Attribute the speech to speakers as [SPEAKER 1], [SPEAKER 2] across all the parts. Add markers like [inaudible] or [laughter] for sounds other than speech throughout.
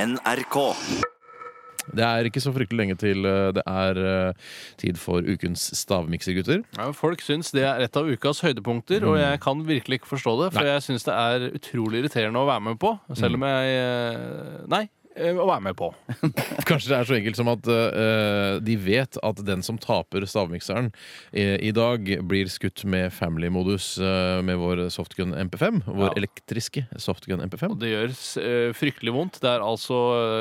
[SPEAKER 1] NRK.
[SPEAKER 2] Det er ikke så fryktelig lenge til eh, det er eh, tid for ukens stavmikser, gutter. [laughs]
[SPEAKER 3] Ja, men folk syns det er et av ukas høydepunkter, og
[SPEAKER 2] Mm.
[SPEAKER 3] jeg kan virkelig ikke forstå det. For jeg syns det er utrolig irriterende å være med på, selv om
[SPEAKER 2] Mm.
[SPEAKER 3] jeg eh, Nei, eh, å være med på.
[SPEAKER 2] Kanskje det er så enkelt som at eh, de vet at den som taper stavmikseren eh, i dag, blir skutt med family-modus eh, med vår softgun MP5. Vår
[SPEAKER 3] Ja.
[SPEAKER 2] elektriske softgun
[SPEAKER 3] Og
[SPEAKER 2] MP5.
[SPEAKER 3] det gjør eh, fryktelig vondt. Det er altså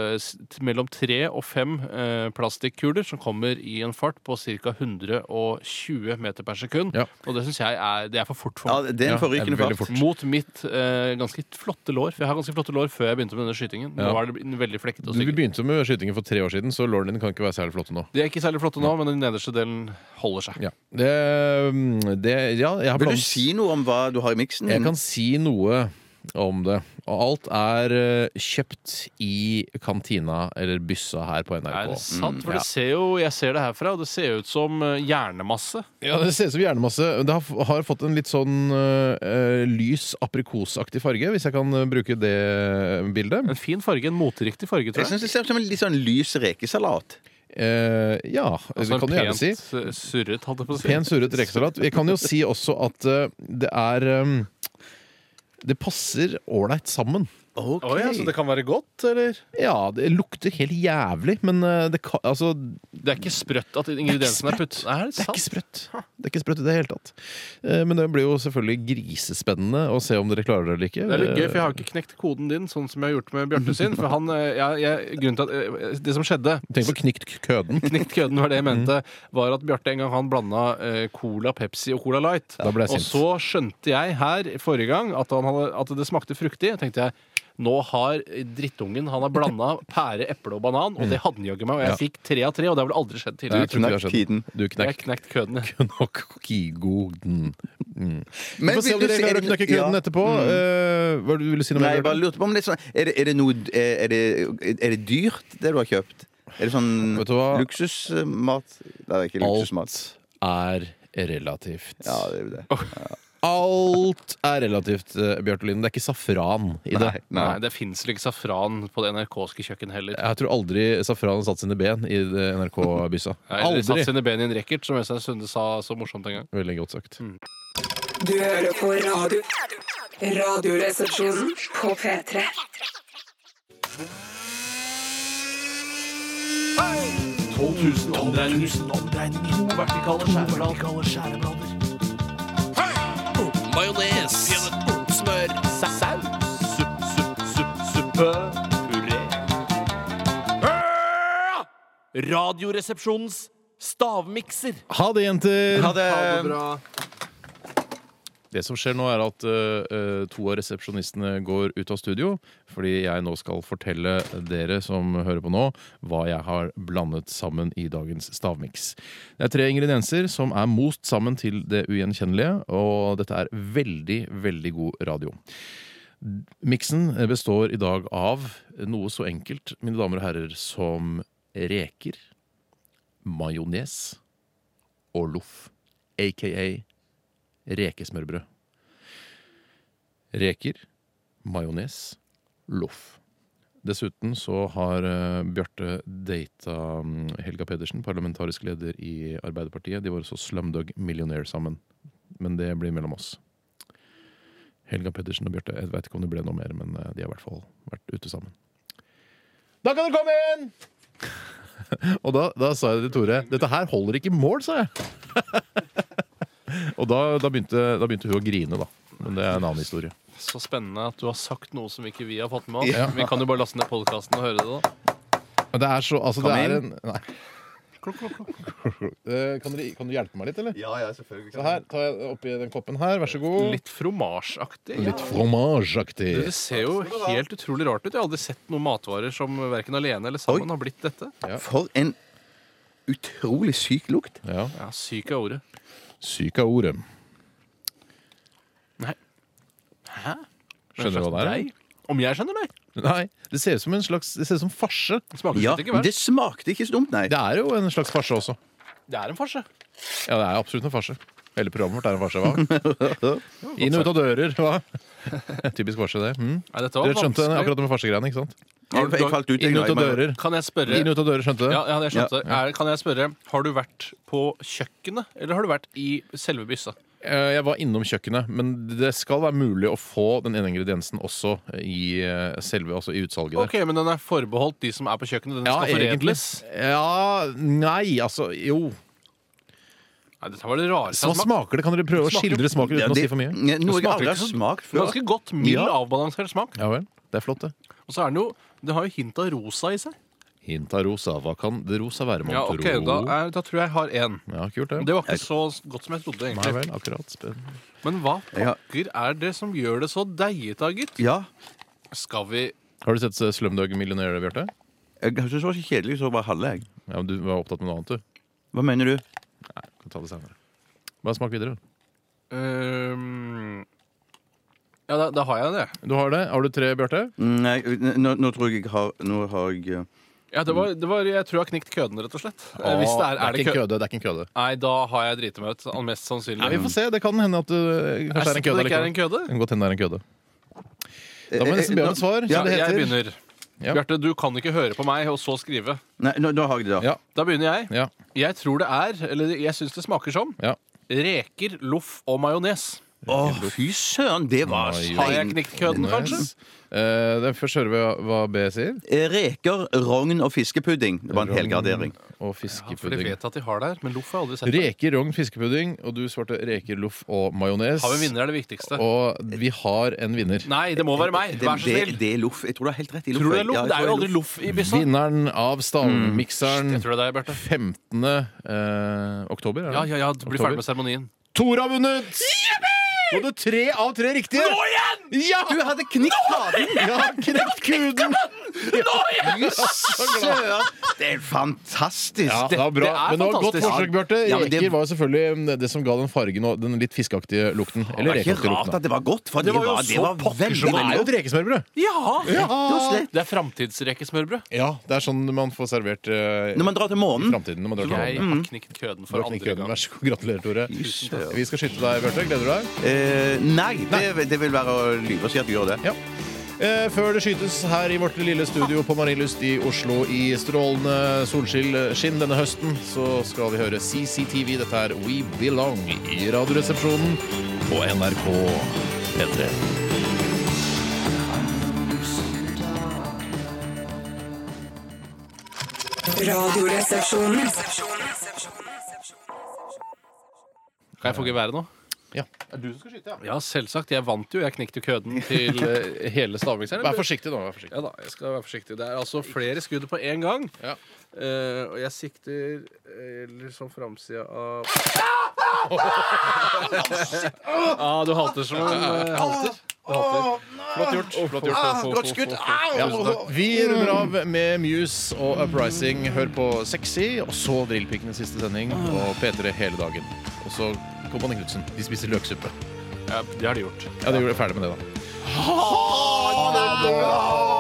[SPEAKER 3] eh, s- t- mellom tre og fem eh, plastikkuler som kommer i en fart på ca. 120 meter per sekund.
[SPEAKER 2] Ja.
[SPEAKER 3] Og det syns jeg er, det er for fort for
[SPEAKER 1] Ja,
[SPEAKER 3] meg.
[SPEAKER 1] det er en
[SPEAKER 2] Ja,
[SPEAKER 1] forrykende
[SPEAKER 2] det er veldig
[SPEAKER 1] fart.
[SPEAKER 2] fort.
[SPEAKER 3] Mot mitt eh, ganske flotte lår. For jeg har ganske flotte lår før jeg begynte med denne skytingen. Nå
[SPEAKER 2] Ja.
[SPEAKER 3] er det bl- veldig flekkete og
[SPEAKER 2] Vi
[SPEAKER 3] stygge.
[SPEAKER 2] begynte med skytingen for tre år siden, så lårene dine kan ikke være særlig flotte nå.
[SPEAKER 3] De er ikke særlig flotte nå, men den nederste delen holder seg.
[SPEAKER 2] Ja, det, mm, det, ja jeg har
[SPEAKER 1] Vil
[SPEAKER 2] planer-
[SPEAKER 1] du si noe om hva du har i miksen?
[SPEAKER 2] Jeg kan si noe om det. Og alt er eh, kjøpt i kantina eller byssa her på
[SPEAKER 3] Er
[SPEAKER 2] NRK. Mm.
[SPEAKER 3] det sant? For
[SPEAKER 2] ja.
[SPEAKER 3] det ser jo, jeg ser det herfra, og det ser ut som eh, hjernemasse.
[SPEAKER 2] Ja, Det ser ut som hjernemasse. Det har, har fått en litt sånn eh, lys aprikosaktig farge, hvis jeg kan eh, bruke det bildet.
[SPEAKER 3] En fin farge, en moteriktig farge, tror
[SPEAKER 1] Jeg
[SPEAKER 3] jeg.
[SPEAKER 1] syns det ser ut som en litt sånn lys rekesalat.
[SPEAKER 2] Eh, ja,
[SPEAKER 3] Altså
[SPEAKER 2] det kan du gjerne si.
[SPEAKER 3] eh, surret, holdt jeg på å si.
[SPEAKER 2] Pen, surret rekesalat. Jeg kan jo si også at eh, det er eh, Det passer ålreit sammen.
[SPEAKER 1] Ok.
[SPEAKER 3] Oi, altså, det kan være godt, eller?
[SPEAKER 2] Ja, det lukter helt jævlig, men eh, det kan Altså,
[SPEAKER 3] Det er ikke sprøtt at ingrediensene er putt. Er det
[SPEAKER 2] Det er
[SPEAKER 3] sant?
[SPEAKER 2] ikke sprøtt. Det er ikke sprøtt i det hele tatt. Eh, Men det blir jo selvfølgelig grisespennende å se om dere klarer det eller ikke.
[SPEAKER 3] Det er litt gøy, for jeg har ikke knekt koden din, sånn som jeg har gjort med Bjarte sin. For han, eh, jeg, jeg, grunnen til at, eh, det som skjedde
[SPEAKER 2] Tenk på knykt køden.
[SPEAKER 3] Knekt køden var det jeg
[SPEAKER 2] Mm.
[SPEAKER 3] mente, var at Bjarte en gang han blanda eh, Cola, Pepsi og Cola Light.
[SPEAKER 2] Da ble jeg
[SPEAKER 3] og
[SPEAKER 2] sint.
[SPEAKER 3] så skjønte jeg her forrige gang at, han hadde, at det smakte fruktig. Og tenkte jeg nå har drittungen han har blanda
[SPEAKER 2] [laughs]
[SPEAKER 3] pære, eple og banan, og det hadde han jaggu meg. Og jeg
[SPEAKER 2] Mm. Ja.
[SPEAKER 3] fikk tre av tre, og det har vel aldri skjedd
[SPEAKER 2] Nei, jeg tror
[SPEAKER 3] tidligere.
[SPEAKER 2] ikke det har
[SPEAKER 1] knakk
[SPEAKER 2] skjedd.
[SPEAKER 1] tiden.
[SPEAKER 2] Du
[SPEAKER 3] Jeg
[SPEAKER 2] knekk
[SPEAKER 3] knekt køden. jeg.
[SPEAKER 2] [laughs] nok kigoden. Vi
[SPEAKER 1] Men
[SPEAKER 2] får se om dere
[SPEAKER 1] vil du si-
[SPEAKER 2] klarer å knekke køden
[SPEAKER 1] Ja. Mm.
[SPEAKER 2] etterpå. Eh, Hva er det du ville si noe
[SPEAKER 1] Nei,
[SPEAKER 2] mer?
[SPEAKER 1] jeg bare lurte på om det er sånn Er det, er det noe er det, er det dyrt, det du har kjøpt? Er det sånn
[SPEAKER 2] Vet du hva?
[SPEAKER 1] luksusmat? Nei, det er ikke luksusmat.
[SPEAKER 2] Alt er relativt.
[SPEAKER 1] Ja, det er jo det.
[SPEAKER 2] Alt er relativt, eh, Bjarte Lien. Det er ikke safran i det.
[SPEAKER 1] Nei,
[SPEAKER 3] Nei,
[SPEAKER 1] nei.
[SPEAKER 3] det fins vel ikke safran på det NRK-ske kjøkken heller.
[SPEAKER 2] Jeg tror aldri safran har satt sine ben i det NRK-byssa.
[SPEAKER 3] Eller satt
[SPEAKER 2] Aldri.
[SPEAKER 3] sine ben i en racket, som Øystein Sunde sa så morsomt en gang.
[SPEAKER 2] Veldig godt
[SPEAKER 1] Mm.
[SPEAKER 2] sagt.
[SPEAKER 4] Du hører på radio. Radioresepsjonen på P3.
[SPEAKER 5] Radioresepsjonens stavmikser.
[SPEAKER 2] Ha det, jenter!
[SPEAKER 1] Ha det!
[SPEAKER 2] Det som skjer nå, er at eh, eh, to av resepsjonistene går ut av studio. Fordi jeg nå skal fortelle dere som hører på nå, hva jeg har blandet sammen i dagens stavmiks. Det er tre ingredienser som er most sammen til det ugjenkjennelige, og dette er veldig, veldig god radio. Miksen består i dag av noe så enkelt, mine damer og herrer, som reker, majones og loff, aka rekesmørbrød. Reker, majones, loff. Dessuten så har eh, Bjarte data mm, Helga Pedersen, parlamentarisk leder i Arbeiderpartiet. De var også Slumdog Millionaire sammen. Men det blir mellom oss. Helga Pedersen og Bjarte, jeg veit ikke om det ble noe mer, men eh, de har i hvert fall vært ute sammen. Da kan dere komme inn! [laughs] og da, da sa jeg til Tore Dette her holder ikke mål, sa jeg. Og da, da, begynte, da begynte hun å grine, da. Men det er en annen historie.
[SPEAKER 3] Så spennende at du har sagt noe som ikke vi har fått med oss.
[SPEAKER 2] Ja.
[SPEAKER 3] Vi kan jo bare laste ned podkasten og høre det, da.
[SPEAKER 2] Men det er så altså,
[SPEAKER 1] Kom
[SPEAKER 2] det er en,
[SPEAKER 1] inn.
[SPEAKER 2] nei. [laughs] Eh, kan, dere, kan du hjelpe meg litt, eller?
[SPEAKER 1] Ja, ja, selvfølgelig.
[SPEAKER 2] Så her tar jeg oppi den koppen her, vær så
[SPEAKER 1] Mm.
[SPEAKER 2] god.
[SPEAKER 3] Litt fromasjeaktig.
[SPEAKER 2] Litt fromageaktig.
[SPEAKER 3] Det ser jo helt utrolig rart ut. Jeg har aldri sett noen matvarer som verken alene eller sammen har blitt dette.
[SPEAKER 1] For en utrolig syk lukt.
[SPEAKER 2] Ja.
[SPEAKER 3] Ja, Syk av ordet.
[SPEAKER 2] Syk av ordet.
[SPEAKER 3] Nei. Hæ?
[SPEAKER 2] Skjønner du hva det er?
[SPEAKER 3] Nei. Om jeg skjønner meg?
[SPEAKER 2] Nei, det ser ut som en slags Det ser ut som farse.
[SPEAKER 3] Det smaker
[SPEAKER 1] Ja,
[SPEAKER 3] slett ikke verst.
[SPEAKER 1] det smakte ikke så dumt, nei.
[SPEAKER 2] Det er jo en slags farse også.
[SPEAKER 3] Det er en farse.
[SPEAKER 2] Ja, det er absolutt en farse. Hele programmet vårt er en farse, hva? Inn og ut av dører, hva? Typisk Mm. farse, det. Mm.
[SPEAKER 3] Nei, dette var
[SPEAKER 2] Dere skjønte
[SPEAKER 3] vanskelig.
[SPEAKER 2] akkurat det med farsegreiene, ikke sant?
[SPEAKER 1] Jeg, jeg falt ut. jeg,
[SPEAKER 2] Inn ut av
[SPEAKER 1] jeg-
[SPEAKER 2] dører.
[SPEAKER 3] Kan jeg spørre
[SPEAKER 2] Inn ut av dører, skjønte du?
[SPEAKER 3] Ja, ja, det skjønte jeg.
[SPEAKER 2] Ja.
[SPEAKER 3] Er- Kan jeg spørre, har du vært på kjøkkenet, eller har du vært i selve byssa?
[SPEAKER 2] Eh, Jeg var innom kjøkkenet, men det skal være mulig å få den ene ingrediensen også i eh, selve, altså i utsalget. der.
[SPEAKER 3] Ok, men den er forbeholdt de som er på kjøkkenet. Den
[SPEAKER 2] Ja,
[SPEAKER 3] skal
[SPEAKER 2] egentlig.
[SPEAKER 3] foredles.
[SPEAKER 2] Ja, nei, altså Jo.
[SPEAKER 3] Nei, dette var det rareste.
[SPEAKER 2] Hva
[SPEAKER 3] jeg har smakt.
[SPEAKER 2] smaker det? Kan dere prøve å skildre smaken
[SPEAKER 1] Ja,
[SPEAKER 2] uten å
[SPEAKER 1] det-
[SPEAKER 2] si for mye?
[SPEAKER 1] Noe jeg
[SPEAKER 3] smaker
[SPEAKER 1] aldri har
[SPEAKER 3] ikke så-
[SPEAKER 1] smakt før.
[SPEAKER 3] Ganske godt, mild,
[SPEAKER 2] Ja.
[SPEAKER 3] avbalansert smak.
[SPEAKER 2] Ja vel. Det er flott, det.
[SPEAKER 3] Og så er den jo Det har jo hint av rosa i seg.
[SPEAKER 2] Hint av rosa. Hva kan det rosa være, mon
[SPEAKER 3] Ja,
[SPEAKER 2] tro?
[SPEAKER 3] ok, da, er, da tror jeg jeg har én.
[SPEAKER 2] Ja, kult, det.
[SPEAKER 3] Det var ikke så godt som jeg trodde,
[SPEAKER 2] Nei
[SPEAKER 3] egentlig.
[SPEAKER 2] vel, akkurat. Spen-
[SPEAKER 3] Men hva
[SPEAKER 1] Ja.
[SPEAKER 3] pokker er det som gjør det så deigete, gitt?
[SPEAKER 1] Ja.
[SPEAKER 3] Skal vi
[SPEAKER 2] Har du sett eh, Slumdog Millionaire, Bjarte?
[SPEAKER 1] Jeg syns det var så kjedelig, så bare halve. jeg.
[SPEAKER 2] Ja, men du var opptatt med noe annet, du.
[SPEAKER 1] Hva mener du?
[SPEAKER 2] Kan ta det senere. Bare smak videre.
[SPEAKER 3] øhm, ehm, Ja, da, da har jeg det.
[SPEAKER 2] Du har det. Har du tre, Bjarte?
[SPEAKER 1] Nei, nå, nå tror jeg jeg har Nå har jeg eh,
[SPEAKER 3] Ja, det var, det var, jeg tror jeg har knekt køden, rett og slett. Eh, Hvis det er, er det
[SPEAKER 2] ikke en
[SPEAKER 3] kø...
[SPEAKER 2] køde. Det er ikke en køde.
[SPEAKER 3] Nei, da har jeg driti meg ut. al- Mest sannsynlig.
[SPEAKER 2] Nei, Vi får se. Det kan hende at du
[SPEAKER 3] Mm. Jeg
[SPEAKER 2] kanskje er en køde.
[SPEAKER 3] sitter på at det ikke er en
[SPEAKER 2] allikevel.
[SPEAKER 3] køde.
[SPEAKER 2] Det kan godt hende det er en køde. Da må jeg nesten be om et svar. så
[SPEAKER 1] Ja,
[SPEAKER 3] Eh, Ja,
[SPEAKER 2] det
[SPEAKER 3] jeg
[SPEAKER 2] heter-
[SPEAKER 3] begynner.
[SPEAKER 2] Ja.
[SPEAKER 3] Bjarte, du kan ikke høre på meg og så skrive.
[SPEAKER 1] Nei, nå, nå har jeg det, da.
[SPEAKER 2] Ja.
[SPEAKER 3] Da begynner jeg.
[SPEAKER 2] Ja.
[SPEAKER 3] Jeg tror det er, eller jeg syns det smaker som,
[SPEAKER 2] ja.
[SPEAKER 3] reker, loff og majones.
[SPEAKER 1] Å, fy søren, det var
[SPEAKER 2] Oi,
[SPEAKER 3] Har jeg knekt køden, kanskje?
[SPEAKER 2] Nice. Eh, det er først hører vi hva- hva B sier.
[SPEAKER 1] Eh, Reker, rogn og fiskepudding. Det var en helgardering.
[SPEAKER 2] Og
[SPEAKER 3] Ja, for de
[SPEAKER 2] fiskepudding.
[SPEAKER 3] vet at de har det her, men loff har jeg aldri sett. det.
[SPEAKER 2] Reker, rogn, fiskepudding, og du svarte reker, loff og majones.
[SPEAKER 3] Har vi en vinner, er det viktigste.
[SPEAKER 2] Og vi har en vinner.
[SPEAKER 3] Nei, det må være meg. Vær så
[SPEAKER 1] det,
[SPEAKER 3] snill.
[SPEAKER 1] det, det er loff. Jeg tror du har helt rett. i
[SPEAKER 3] Tror du det er
[SPEAKER 1] Ja,
[SPEAKER 3] loff?
[SPEAKER 1] jeg
[SPEAKER 3] Det er jo
[SPEAKER 1] tror
[SPEAKER 3] aldri
[SPEAKER 1] det
[SPEAKER 3] loff i byssa.
[SPEAKER 2] Vinneren av stavmikseren
[SPEAKER 3] Mm. Jeg tror det er deg, Bjarte.
[SPEAKER 2] 15. eh, oktober. Er det?
[SPEAKER 3] Ja, ja, ja, bli
[SPEAKER 2] Oktober.
[SPEAKER 3] ferdig med seremonien.
[SPEAKER 2] Tor har vunnet! Nå hadde tre av tre riktige. Nå igjen! Ja!
[SPEAKER 1] Du hadde
[SPEAKER 3] [laughs]
[SPEAKER 1] knekt kaden!
[SPEAKER 2] Ja, knekt kuden!
[SPEAKER 3] Nå igjen!
[SPEAKER 1] Fy søren! Det er fantastisk!
[SPEAKER 2] Ja, det var bra.
[SPEAKER 3] det er
[SPEAKER 2] men det var et godt
[SPEAKER 3] fantastisk.
[SPEAKER 2] forsøk, Bjarte.
[SPEAKER 1] Ja, men det-
[SPEAKER 2] Reker var jo selvfølgelig det som ga den fargen og den litt fiskeaktige lukten. Eller
[SPEAKER 1] det er ikke
[SPEAKER 2] rekeaktige
[SPEAKER 1] rart
[SPEAKER 2] lukten.
[SPEAKER 1] at det var godt, for det,
[SPEAKER 3] var
[SPEAKER 1] var,
[SPEAKER 3] jo
[SPEAKER 1] det
[SPEAKER 3] så
[SPEAKER 1] var
[SPEAKER 3] pokker
[SPEAKER 1] veldig,
[SPEAKER 2] da.
[SPEAKER 3] som
[SPEAKER 2] Det er
[SPEAKER 1] veldig
[SPEAKER 2] jo et rekesmørbrød.
[SPEAKER 3] Ja!
[SPEAKER 1] Rett og slett.
[SPEAKER 3] Det er framtidsrekesmørbrød.
[SPEAKER 2] Ja, det er sånn man får servert eh,
[SPEAKER 1] Når man drar til
[SPEAKER 2] i
[SPEAKER 1] månen
[SPEAKER 2] framtiden. Når man drar til
[SPEAKER 3] Jeg
[SPEAKER 2] Holland.
[SPEAKER 3] har knekt køden
[SPEAKER 2] Du
[SPEAKER 3] for
[SPEAKER 2] har knekt
[SPEAKER 3] andre
[SPEAKER 2] køden.
[SPEAKER 3] gang.
[SPEAKER 2] Vær så god. Gratulerer, Tore.
[SPEAKER 1] søren.
[SPEAKER 2] Vi skal skyte deg, Bjarte. Gleder du deg?
[SPEAKER 1] eh, Nei, det, det vil være å lyve og si at du gjør det.
[SPEAKER 2] Ja. Eh, Før det skytes her i vårt lille studio på Marienlyst i Oslo i strålende solskinn denne høsten, så skal vi høre CCTV. Dette er We Belong i Radioresepsjonen på NRK P3.
[SPEAKER 4] Radioresepsjonen.
[SPEAKER 3] Kan jeg få geværet nå?
[SPEAKER 2] Ja.
[SPEAKER 3] Ja, selvsagt. Jeg vant jo. Jeg knekte jo køden til eh, hele stavmikseren.
[SPEAKER 2] Vær forsiktig nå. vær forsiktig.
[SPEAKER 3] Ja da, jeg skal være forsiktig. Det er altså flere skudd på én gang.
[SPEAKER 2] Ja.
[SPEAKER 3] Eh, og jeg sikter eh, liksom framsida av ah, Du halter som en eh, halter. Du halter. Flott gjort. Flott gjort. Få, få, få,
[SPEAKER 1] Godt skudd!
[SPEAKER 3] få.
[SPEAKER 1] Au!
[SPEAKER 2] Tusen takk. Mm. Vi runder av med Muse og Uprising. Hør på Sexy, og så Drillpikkenes siste sending og P3 hele dagen. Og så Kompani Knutsen. De spiser løksuppe.
[SPEAKER 3] Ja, det har de gjort.
[SPEAKER 2] Ja, det gjorde jeg ferdig med det, da.
[SPEAKER 1] Au!